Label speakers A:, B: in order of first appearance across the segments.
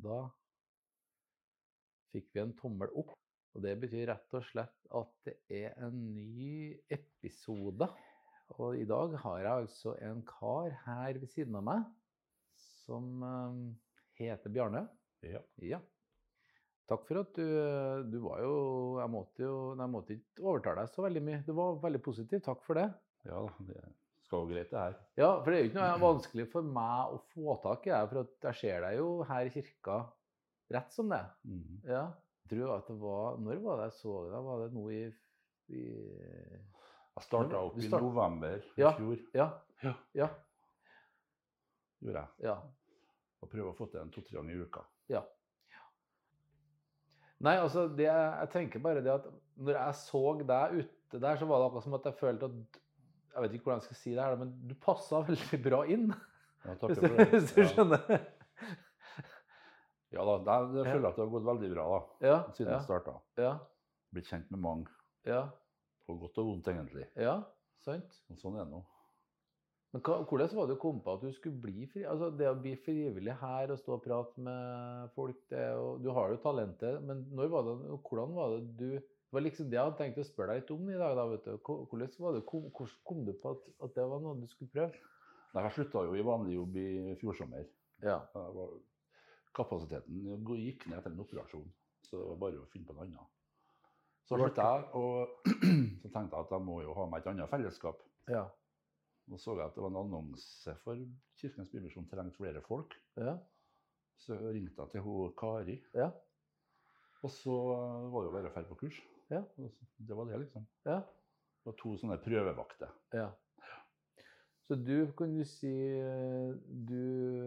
A: Da fikk vi en tommel opp. Og det betyr rett og slett at det er en ny episode. Og i dag har jeg altså en kar her ved siden av meg som eh, heter Bjarne.
B: Ja.
A: Ja. Takk for at du eh, Du var jo Jeg måtte jo nei, Jeg måtte ikke overtale deg så veldig mye. Du var veldig positiv. Takk for det.
B: ja da, det skal gå greit, det her.
A: Ja, for det er jo ikke noe vanskelig for meg å få tak i deg, for at jeg ser deg jo her i kirka rett som det.
B: Mhm.
A: Ja. Tror at det var Når var det jeg så deg? Var det nå i, i
B: Jeg starta opp
A: Du
B: i
A: start-
B: november i
A: Ja.
B: fjor.
A: Ja.
B: Ja.
A: Ja.
B: gjorde jeg.
A: ja.
B: Og prøver å få til en to-tre ganger i uka.
A: Nei, altså, det, jeg tenker bare det at når jeg så deg ute der, så var det akkurat som at jeg følte at Jeg vet ikke hvordan jeg skal si det her, men du passa veldig bra inn,
B: Ja,
A: hvis du,
B: takker for det.
A: hvis du
B: Ja.
A: skjønner?
B: Ja da, det, det
A: Ja.
B: føler jeg at det har gått veldig bra da,
A: Ja.
B: siden
A: Ja.
B: jeg starta.
A: Ja.
B: Blitt kjent med mange,
A: Ja.
B: på godt og vondt egentlig.
A: ja. Sant.
B: Og sånn er det nå.
A: Men hva, hvordan var det du kom på at du skulle bli fri? Altså Det å bli frivillig her og stå og prate med folk det er jo, Du har jo talentet, men når var det, og hvordan var det du Det var liksom det jeg hadde tenkt å spørre deg litt om i dag. da, vet du. Hvor- Hvordan var det, kom, hvordan kom du på at, at det var noe du skulle prøve?
B: Nei, jeg slutta jo i vanlig jobb i fjor sommer.
A: Ja.
B: Jeg var- Kapasiteten gikk ned etter en operasjon, så det var bare å finne på noe annet. Så
A: Du var-
B: slutta jeg, og så tenkte jeg at jeg må jo ha meg et annet fellesskap.
A: Ja.
B: Nå så jeg at det var en annonse for Kirkens Bymisjon trengte flere folk.
A: Ja.
B: Så ringte jeg til hun Kari.
A: Ja.
B: Og så var det jo bare å dra på kurs.
A: Ja.
B: Og så- Det var det, liksom.
A: ja.
B: Det var to sånne prøvevakter.
A: Ja. Så du kan du si eh, Du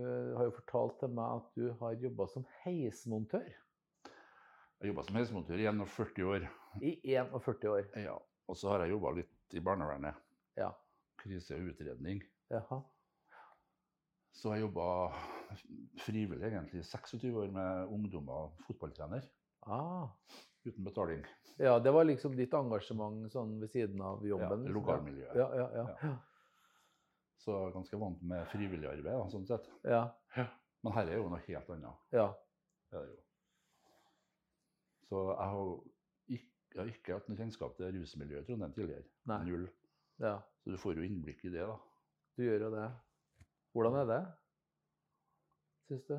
A: eh, har jo fortalt til meg at du har jobba som heismontør
B: Jeg jobba som helsemontør i 41 år.
A: i 41 år.
B: Ja. Og så har jeg jobba litt i barnevernet.
A: Ja.
B: Krise og utredning.
A: Jaha.
B: Så jeg jobba frivillig egentlig i 26 år med ungdommer, fotballtrener,
A: Ah.
B: uten betaling.
A: Ja, det var liksom ditt engasjement sånn ved siden av
B: Ja,
A: jobben? liksom.
B: lokalmiljøet.
A: Ja, ja, ja. ja.
B: Så jeg er ganske vant med frivillig arbeid, da, sånn sett.
A: ja,
B: Men her er jo noe helt annet.
A: ja.
B: Det er det jo. Så jeg har jo ikke, jeg har ikke hatt noe kjennskap til rusmiljøet i Trondheim tidligere.
A: Nei.
B: Null.
A: ja.
B: Så du får jo innblikk i det, da.
A: Du gjør jo det. Hvordan er det, syns du?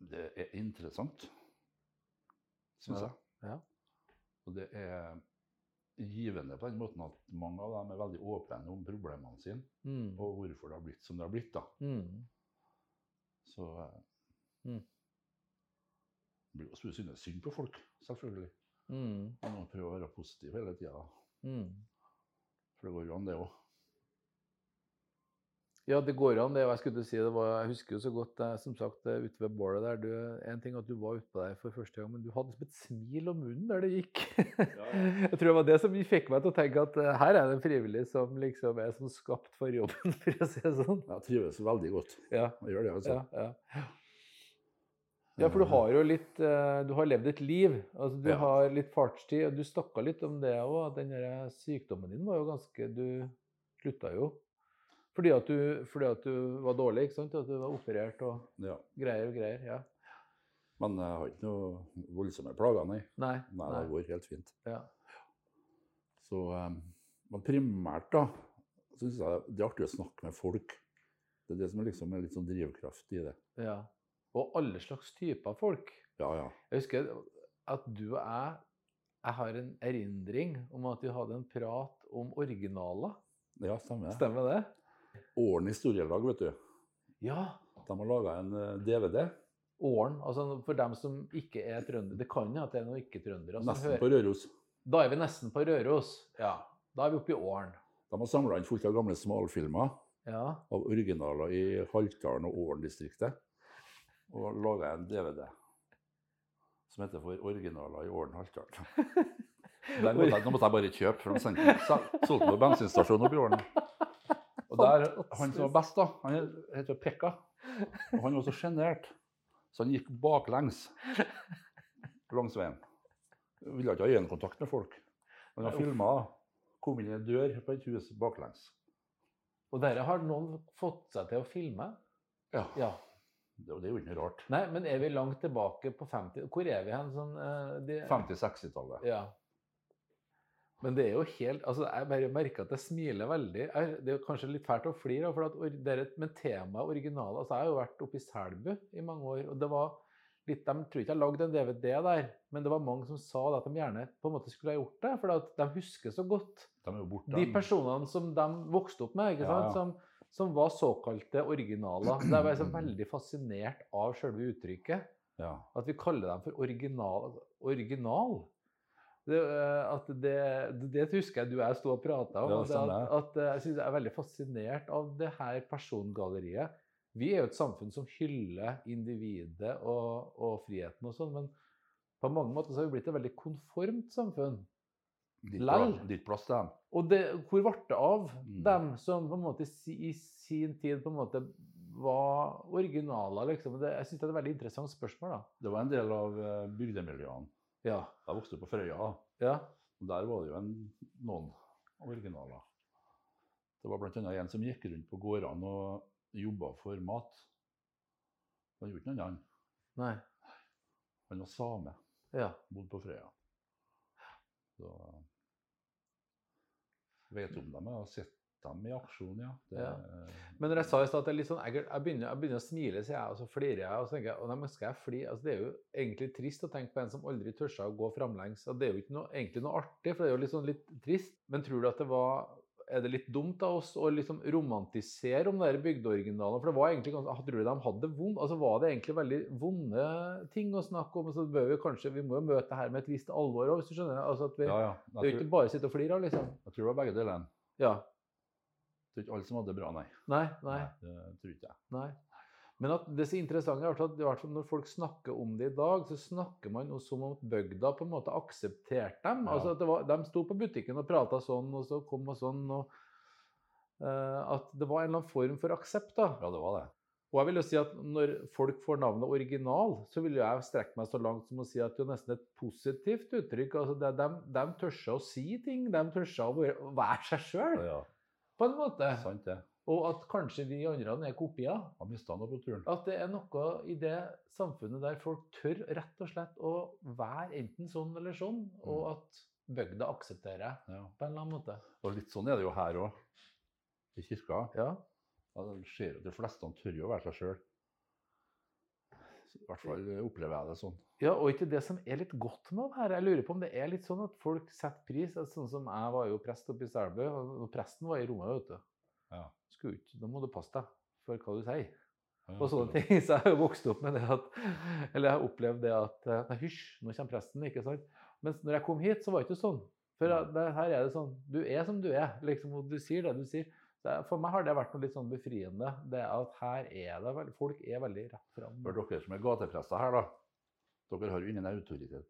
B: Det er interessant, syns
A: Ja,
B: jeg.
A: ja.
B: Og det er givende på den måten at mange av dem er veldig åpne om problemene sine
A: Mm.
B: og hvorfor det har blitt som det har blitt. da.
A: Mm.
B: Så eh,
A: Mm.
B: det blir jo synes synd på folk, selvfølgelig.
A: Mm.
B: Man må prøve å være positiv hele tida,
A: Mm.
B: for det går jo an, det òg.
A: Ja, det går an. det, og Jeg skulle til å si det var, jeg husker jo så godt eh, som sagt, eh, ute ved bålet der. Du, en ting at du var utpå der for første gang, men du hadde som et smil om munnen der det gikk.
B: ja.
A: Jeg tror det var det som fikk meg til å tenke at eh, her er det en frivillig som liksom er som skapt for jobben, for å si det sånn.
B: Jeg trives veldig godt.
A: Ja,
B: Jeg gjør det, altså.
A: ja, ja. Ja, for du har jo litt eh, Du har levd et liv. Altså, du
B: Ja.
A: har litt fartstid. Og du snakka litt om det òg, at den der sykdommen din var jo ganske Du slutta jo fordi at du, fordi at du var dårlig, ikke sant? At du var operert og
B: Eh, Ja.
A: greier og greier. Ja.
B: Men jeg har ikke noe voldsomme plager, nei.
A: Nei.
B: Nei, det går helt fint.
A: Ja.
B: Så, eh, men primært da, så synes jeg det er artig å snakke med folk. Det er det som er liksom en litt sånn drivkraft i det.
A: ja. Og alle slags typer folk.
B: Ja, ja.
A: Jeg husker at du og jeg Jeg har en erindring om at vi hadde en prat om originaler.
B: Ja, stemmer det.
A: Stemmer det?
B: Åren historielag, vet du.
A: Ja.
B: De har laget en eh, DVD,
A: Åren, altså for dem som ikke er trøndere Det kan jo at det er noen ikke-trøndere. som
B: nesten
A: hører-
B: på Røros.
A: Da er vi nesten på Røros. Ja. Da er vi oppe i Åren.
B: De har samlet inn fullt av gamle smalfilmer
A: Ja.
B: av originaler i Haltdalen og Åren-distriktet. Og laget en DVD som heter for originaler i Åren-Haltdalen. Den måtte jeg, nå måtte jeg bare kjøpe, for de sendte den- sel- solgte den på bensinstasjonen oppi årene. Og der, han som var best, da, han heter Pekka. Og han var så sjenert, så han gikk baklengs langs veien. Ville ikke ha øyekontakt med folk. Han har filma, kom inn i en dør på et hus baklengs.
A: Og dette har noen fått seg til å filme.
B: Ja.
A: Ja.
B: Det, det er jo ikke noe rart.
A: Nei, men er vi langt tilbake på 50 Hvor er vi hen? Sånn, eh, de-
B: 50-60-tallet.
A: Ja. Men det er jo helt altså Jeg bare merker at jeg smiler veldig. Jeg, det er jo kanskje litt fælt å flire, for at or- det er et- men temaet original altså Jeg har jo vært oppe i Selbu i mange år, og det var litt, de tror ikke jeg lagde en DVD der, men det var mange som sa det at de gjerne på en måte skulle ha gjort det, for at de husker så godt
B: De er jo borte.
A: de personene som de vokste opp med, ikke
B: Ja,
A: sant?
B: ja.
A: Som, som var såkalte originaler. Så Jeg var så veldig fascinert av selve uttrykket.
B: Ja.
A: At vi kaller dem for original. original. Det, eh, at det, det husker jeg du og jeg sto og prata om.
B: Ja,
A: at-
B: stemmer.
A: at, at eh, Jeg synes jeg er veldig fascinert av det her persongalleriet. Vi er jo et samfunn som hyller individet og, og friheten og sånn, men på mange måter så har vi blitt et veldig konformt samfunn.
B: Ditt,
A: Lell.
B: pla- ditt plass til dem.
A: Og det, hvor ble det av
B: Mm.
A: dem som på en måte si, i sin tid på en måte var originaler, liksom? Det, jeg syns det er et veldig interessant spørsmål, da.
B: Det var en del av eh, bygdemiljøene.
A: Ja.
B: Jeg vokste opp på Frøya.
A: ja.
B: Og Der var det jo en, noen originaler. Det var bl.a. en som gikk rundt på gårdene og jobba for mat. Han gjorde ikke noe annet.
A: Nei.
B: Han var same,
A: Ja.
B: bodde på Frøya. Så vet om dem. Jeg har sett dem i aksjon, ja. Det,
A: Men når jeg sa i stad at det er litt sånn ekkelt, jeg begynner, jeg begynner å smile, sier jeg, og så flirer jeg. Og så tenker jeg «Å, nei, men skal jeg fli? Altså, det er jo egentlig trist å tenke på en som aldri tørsa å gå framlengs. Og det er jo ikke noe, egentlig noe artig, for det er jo litt sånn litt trist. Men tror du at det var Er det litt dumt av oss å liksom romantisere om de der bygdeoriginalene? For det var egentlig ganske ah, Tror du de hadde det vondt? Altså var det egentlig veldig vonde ting å snakke om? Og så bør vi kanskje Vi må jo møte det her med et visst alvor òg, hvis du skjønner? Altså at vi,
B: ja, ja.
A: Det er
B: Jeg,
A: jo
B: tror,
A: ikke bare å sitte og flire av, liksom.
B: jeg tror det var begge delene.
A: Ja.
B: Det er ikke alle som hadde det bra, nei.
A: Nei. Nei.
B: Det tror ikke jeg.
A: Nei. Men at det som er interessant er at i hvert fall når folk snakker om det i dag, så snakker man jo som om at bygda på en måte aksepterte dem.
B: Ja.
A: Altså at det var, De sto på butikken og prata sånn, og så kom og sånn. og eh, At det var en eller annen form for aksept. da.
B: Ja, det var det.
A: Og jeg vil jo si at når folk får navnet original, så vil jo jeg strekke meg så langt som å si at det er jo nesten et positivt uttrykk. Altså det, de, de tør seg å si ting. De tør seg å være- å være seg sjøl,
B: Ja,
A: på en måte.
B: sant det.
A: Og at kanskje vi andre er kopier.
B: Jeg mista noe på turen.
A: At det er noe i det samfunnet der folk tør rett og slett å være enten sånn eller sånn, og at bygda aksepterer
B: Ja.
A: på en eller annen måte.
B: Og litt sånn er det jo her òg, i kirka.
A: Ja,
B: Ja, det skjer jo. De fleste tør jo å være seg sjøl. I hvert fall opplever jeg det sånn.
A: ja og ikke det som er litt godt med det her. Jeg lurer på om det er litt sånn at folk setter pris altså Sånn som jeg var jo prest oppe i Selbu, og og presten var i rommet, vet du.
B: Ja.
A: Skulle ut. Da må du passe deg for hva du sier.
B: Ja,
A: Og sånne ting. Så jeg har jo vokst opp med det at Eller jeg har opplevd det at eh, Nei, hysj, nå kommer presten, ikke sant? Mens når jeg kom hit, så var det ikke sånn. For jeg- det, her er det sånn Du er som du er. liksom, og Du sier det du sier. Så jeg- For meg har det vært noe litt sånn befriende. Det at her er det veldig Folk er veldig rett fram.
B: For dere som er gateprester her, da. Dere har jo ingen autoritet,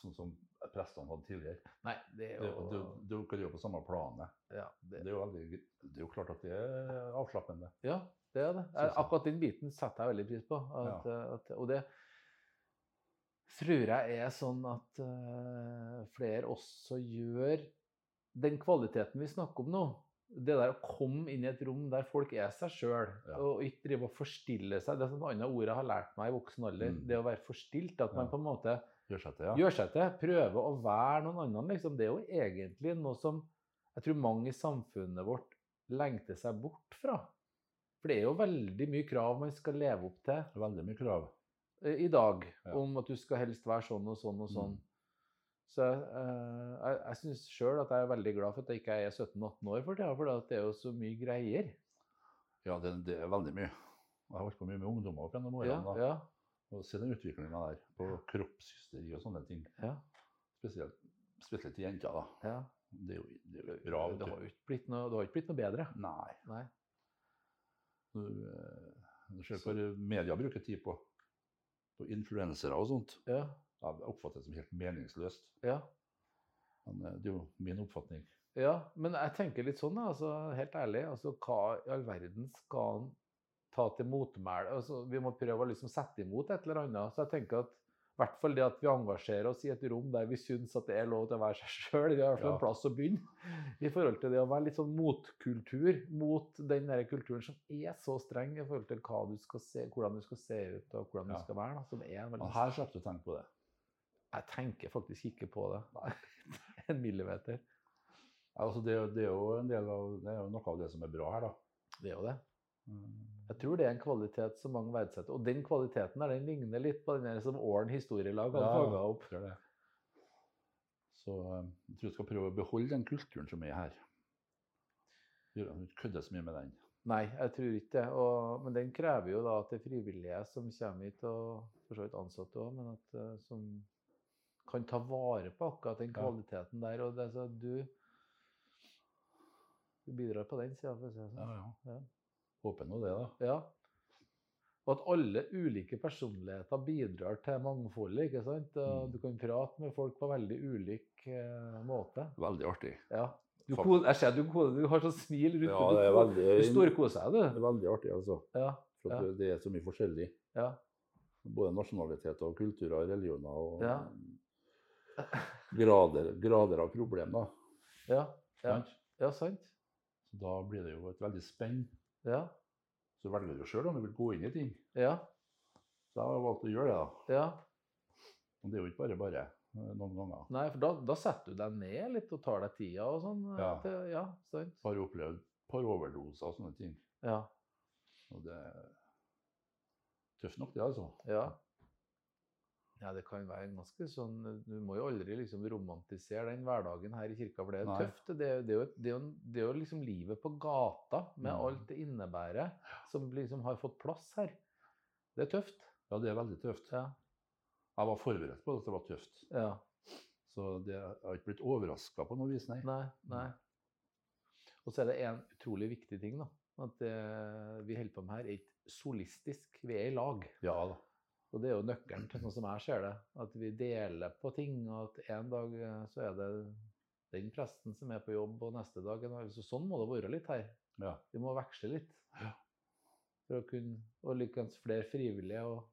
B: sånn som prestene hadde tidligere.
A: Nei, det er
B: Det,
A: jo
B: og det- dere er jo på samme planet.
A: Ja,
B: Det
A: det,
B: er jo, veldig, det er jo klart at det er avslappende.
A: ja, det er det.
B: Synes jeg.
A: Akkurat den biten setter jeg veldig pris på. At, eh, at, og det tror jeg er sånn at eh, flere også gjør den kvaliteten vi snakker om nå, det der å komme inn i et rom der folk er seg sjøl,
B: Ja.
A: og ikke drive og forstille seg Det er sånn et annet ord jeg har lært meg i voksen alder.
B: Mm.
A: Det å være forstilt. At man
B: Ja.
A: på en måte
B: Gjør seg til, ja.
A: gjør seg til, prøver å være noen annen. Liksom. Det er jo egentlig noe som jeg tror mange i samfunnet vårt lengter seg bort fra. For det er jo veldig mye krav man skal leve opp til
B: Det er Veldig mye krav.
A: eh, i dag
B: Ja.
A: om at du skal helst være sånn og sånn og sånn.
B: Mm.
A: Så eh, jeg, jeg syns sjøl at jeg er veldig glad for at jeg ikke er 17-18 år for tida, for det er jo så mye greier.
B: Ja, det, det er veldig mye. Jeg har holdt på mye med ungdommer opp gjennom
A: Ja,
B: årene. da.
A: ja,
B: Og se den utviklinga der, på kroppshysteri og sånne ting.
A: ja,
B: Spesielt, spesielt til jenter, da.
A: ja.
B: Det er jo, det er jo
A: Det
B: bra.
A: har
B: vet du.
A: jo ikke blitt noe, det har ikke blitt noe bedre.
B: Nei.
A: Nei.
B: Du, eh, du ser hva media bruker tid på. På influensere og sånt.
A: Ja,
B: Jeg oppfatter det som helt meningsløst.
A: ja.
B: Men eh, det er jo min oppfatning.
A: Ja, men jeg tenker litt sånn, da, altså, helt ærlig. Altså, hva i all verden skal han ta til motmæle? Altså, vi må prøve å liksom sette imot et eller annet. Så jeg tenker at I hvert fall det at vi engasjerer oss i et rom der vi syns at det er lov til å være seg sjøl. Vi har i hvert fall
B: Ja.
A: en plass å begynne. I forhold til det å være litt sånn motkultur mot den der kulturen som er så streng i forhold til hva du skal se, hvordan du skal se ut og hvordan
B: Ja.
A: du skal være. Da, som er en
B: Men
A: veldig...
B: her slapp du å tenke på det.
A: Jeg tenker faktisk ikke på det. en millimeter.
B: Altså, det, er jo- det, er jo en del av, det er jo noe av det som er bra her, da.
A: Det er jo det. Jeg tror det er en kvalitet som mange verdsetter. Og den kvaliteten her, den ligner litt på den der som Åren historielag hadde
B: Ja, ja.
A: fanget opp.
B: Gjør det. Så eh, jeg tror jeg skal prøve å beholde den kulturen som er her. Gjør at du ikke kødder så mye med den.
A: Nei, jeg tror ikke det. Og, men den krever jo da at det er frivillige som kommer hit, og for så vidt ansatte òg, men at eh, som kan ta vare på akkurat den
B: Ja.
A: kvaliteten der. Og det, er så at du, du bidrar på den sida, for å si det sånn. Ja.
B: Håper nå det, da.
A: Ja. Og at alle ulike personligheter bidrar til mangfoldet. ikke sant? Og
B: Mm.
A: Du kan prate med folk på veldig ulik eh, måte.
B: Veldig artig.
A: Ja. Du
B: Fakt-
A: koser, jeg ser du, koser, du har sånn smil rundt du- du-
B: veldig,
A: Du storkoser deg, du.
B: veldig artig, altså.
A: Ja.
B: For at
A: Ja.
B: det er så mye forskjellig.
A: ja.
B: Både nasjonaliteter og kulturer og religioner og um,
A: Ja.
B: grader, grader av problemer.
A: ja.
B: Ja.
A: Ja, sant?
B: Så da blir det jo et veldig spenn.
A: Ja.
B: Så velger du sjøl om du vil gå inn i ting.
A: Ja.
B: Så jeg har valgt å gjøre det, da.
A: ja.
B: Men det er jo ikke bare bare eh, noen ganger.
A: Nei, for da, da setter du deg ned litt og tar deg tida og sånn. eh,
B: Ja.
A: Til, ja, sant?
B: Har jo opplevd et par overdoser og sånne ting.
A: Ja.
B: Og det er tøft nok, det, altså.
A: Ja. Ja, det kan være en ganske sånn Du må jo aldri liksom romantisere den hverdagen her i kirka, for det er jo
B: Nei.
A: tøft. Det er, jo- det, er jo, et- det, er jo, en- det er jo liksom livet på gata med
B: Mm.
A: alt det innebærer, som liksom har fått plass her. Det er tøft.
B: Ja, det er veldig tøft.
A: Ja.
B: Jeg var forberedt på at det var tøft.
A: ja.
B: Så det, jeg har ikke blitt overraska på noe vis, nei.
A: Nei. nei. Og så er det en utrolig viktig ting, da. At det vi holder på med her, er ikke solistisk. Vi er i lag.
B: Ja da.
A: Og det er jo nøkkelen til sånn som jeg ser det. At vi deler på ting, og at en dag eh, så er det den presten som er på jobb, og neste dag en annen. Så sånn må det være litt her.
B: Ja.
A: Vi må veksle litt.
B: Ja.
A: For å kunne, og likeens flere frivillige og,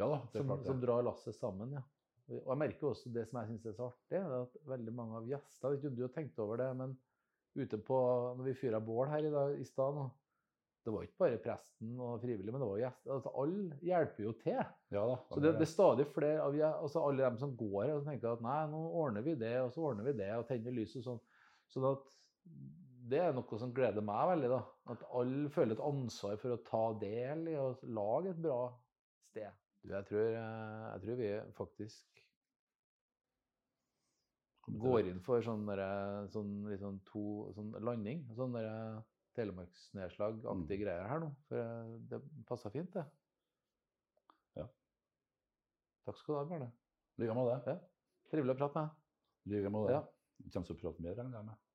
B: Ja da, det er
A: som,
B: klart
A: som
B: det.
A: drar lasset sammen. ja. Og jeg merker også det som jeg syns er så artig, det er at veldig mange av gjestene Jeg vet ikke om du har tenkt over det, men ute på Når vi fyra bål her i, dag, i stad nå Det var ikke bare presten og frivillige, men det var gjester. Altså, alle hjelper jo til.
B: Ja da.
A: Så det, det er stadig flere av jeg, altså alle dem som går her og tenker at nei, nå ordner vi det, og så ordner vi det, og tenner lys og sånn. Sånn at det er noe som gleder meg veldig, da. At alle føler et ansvar for å ta del i og lage et bra sted. Du, jeg tror, eh, jeg tror vi faktisk går inn for sånn, derre- sånn, litt sånn to sånn landing. Sånn derre telemarksnedslag-aktige greier her nå. For eh, det passer fint, det.
B: Ja.
A: Takk skal du ha, Bjarne.
B: Ligger med det.
A: Trivelig å prate med deg.
B: Ligger med det.
A: Ja.
B: Vi kommer til å prate mer, regner jeg med.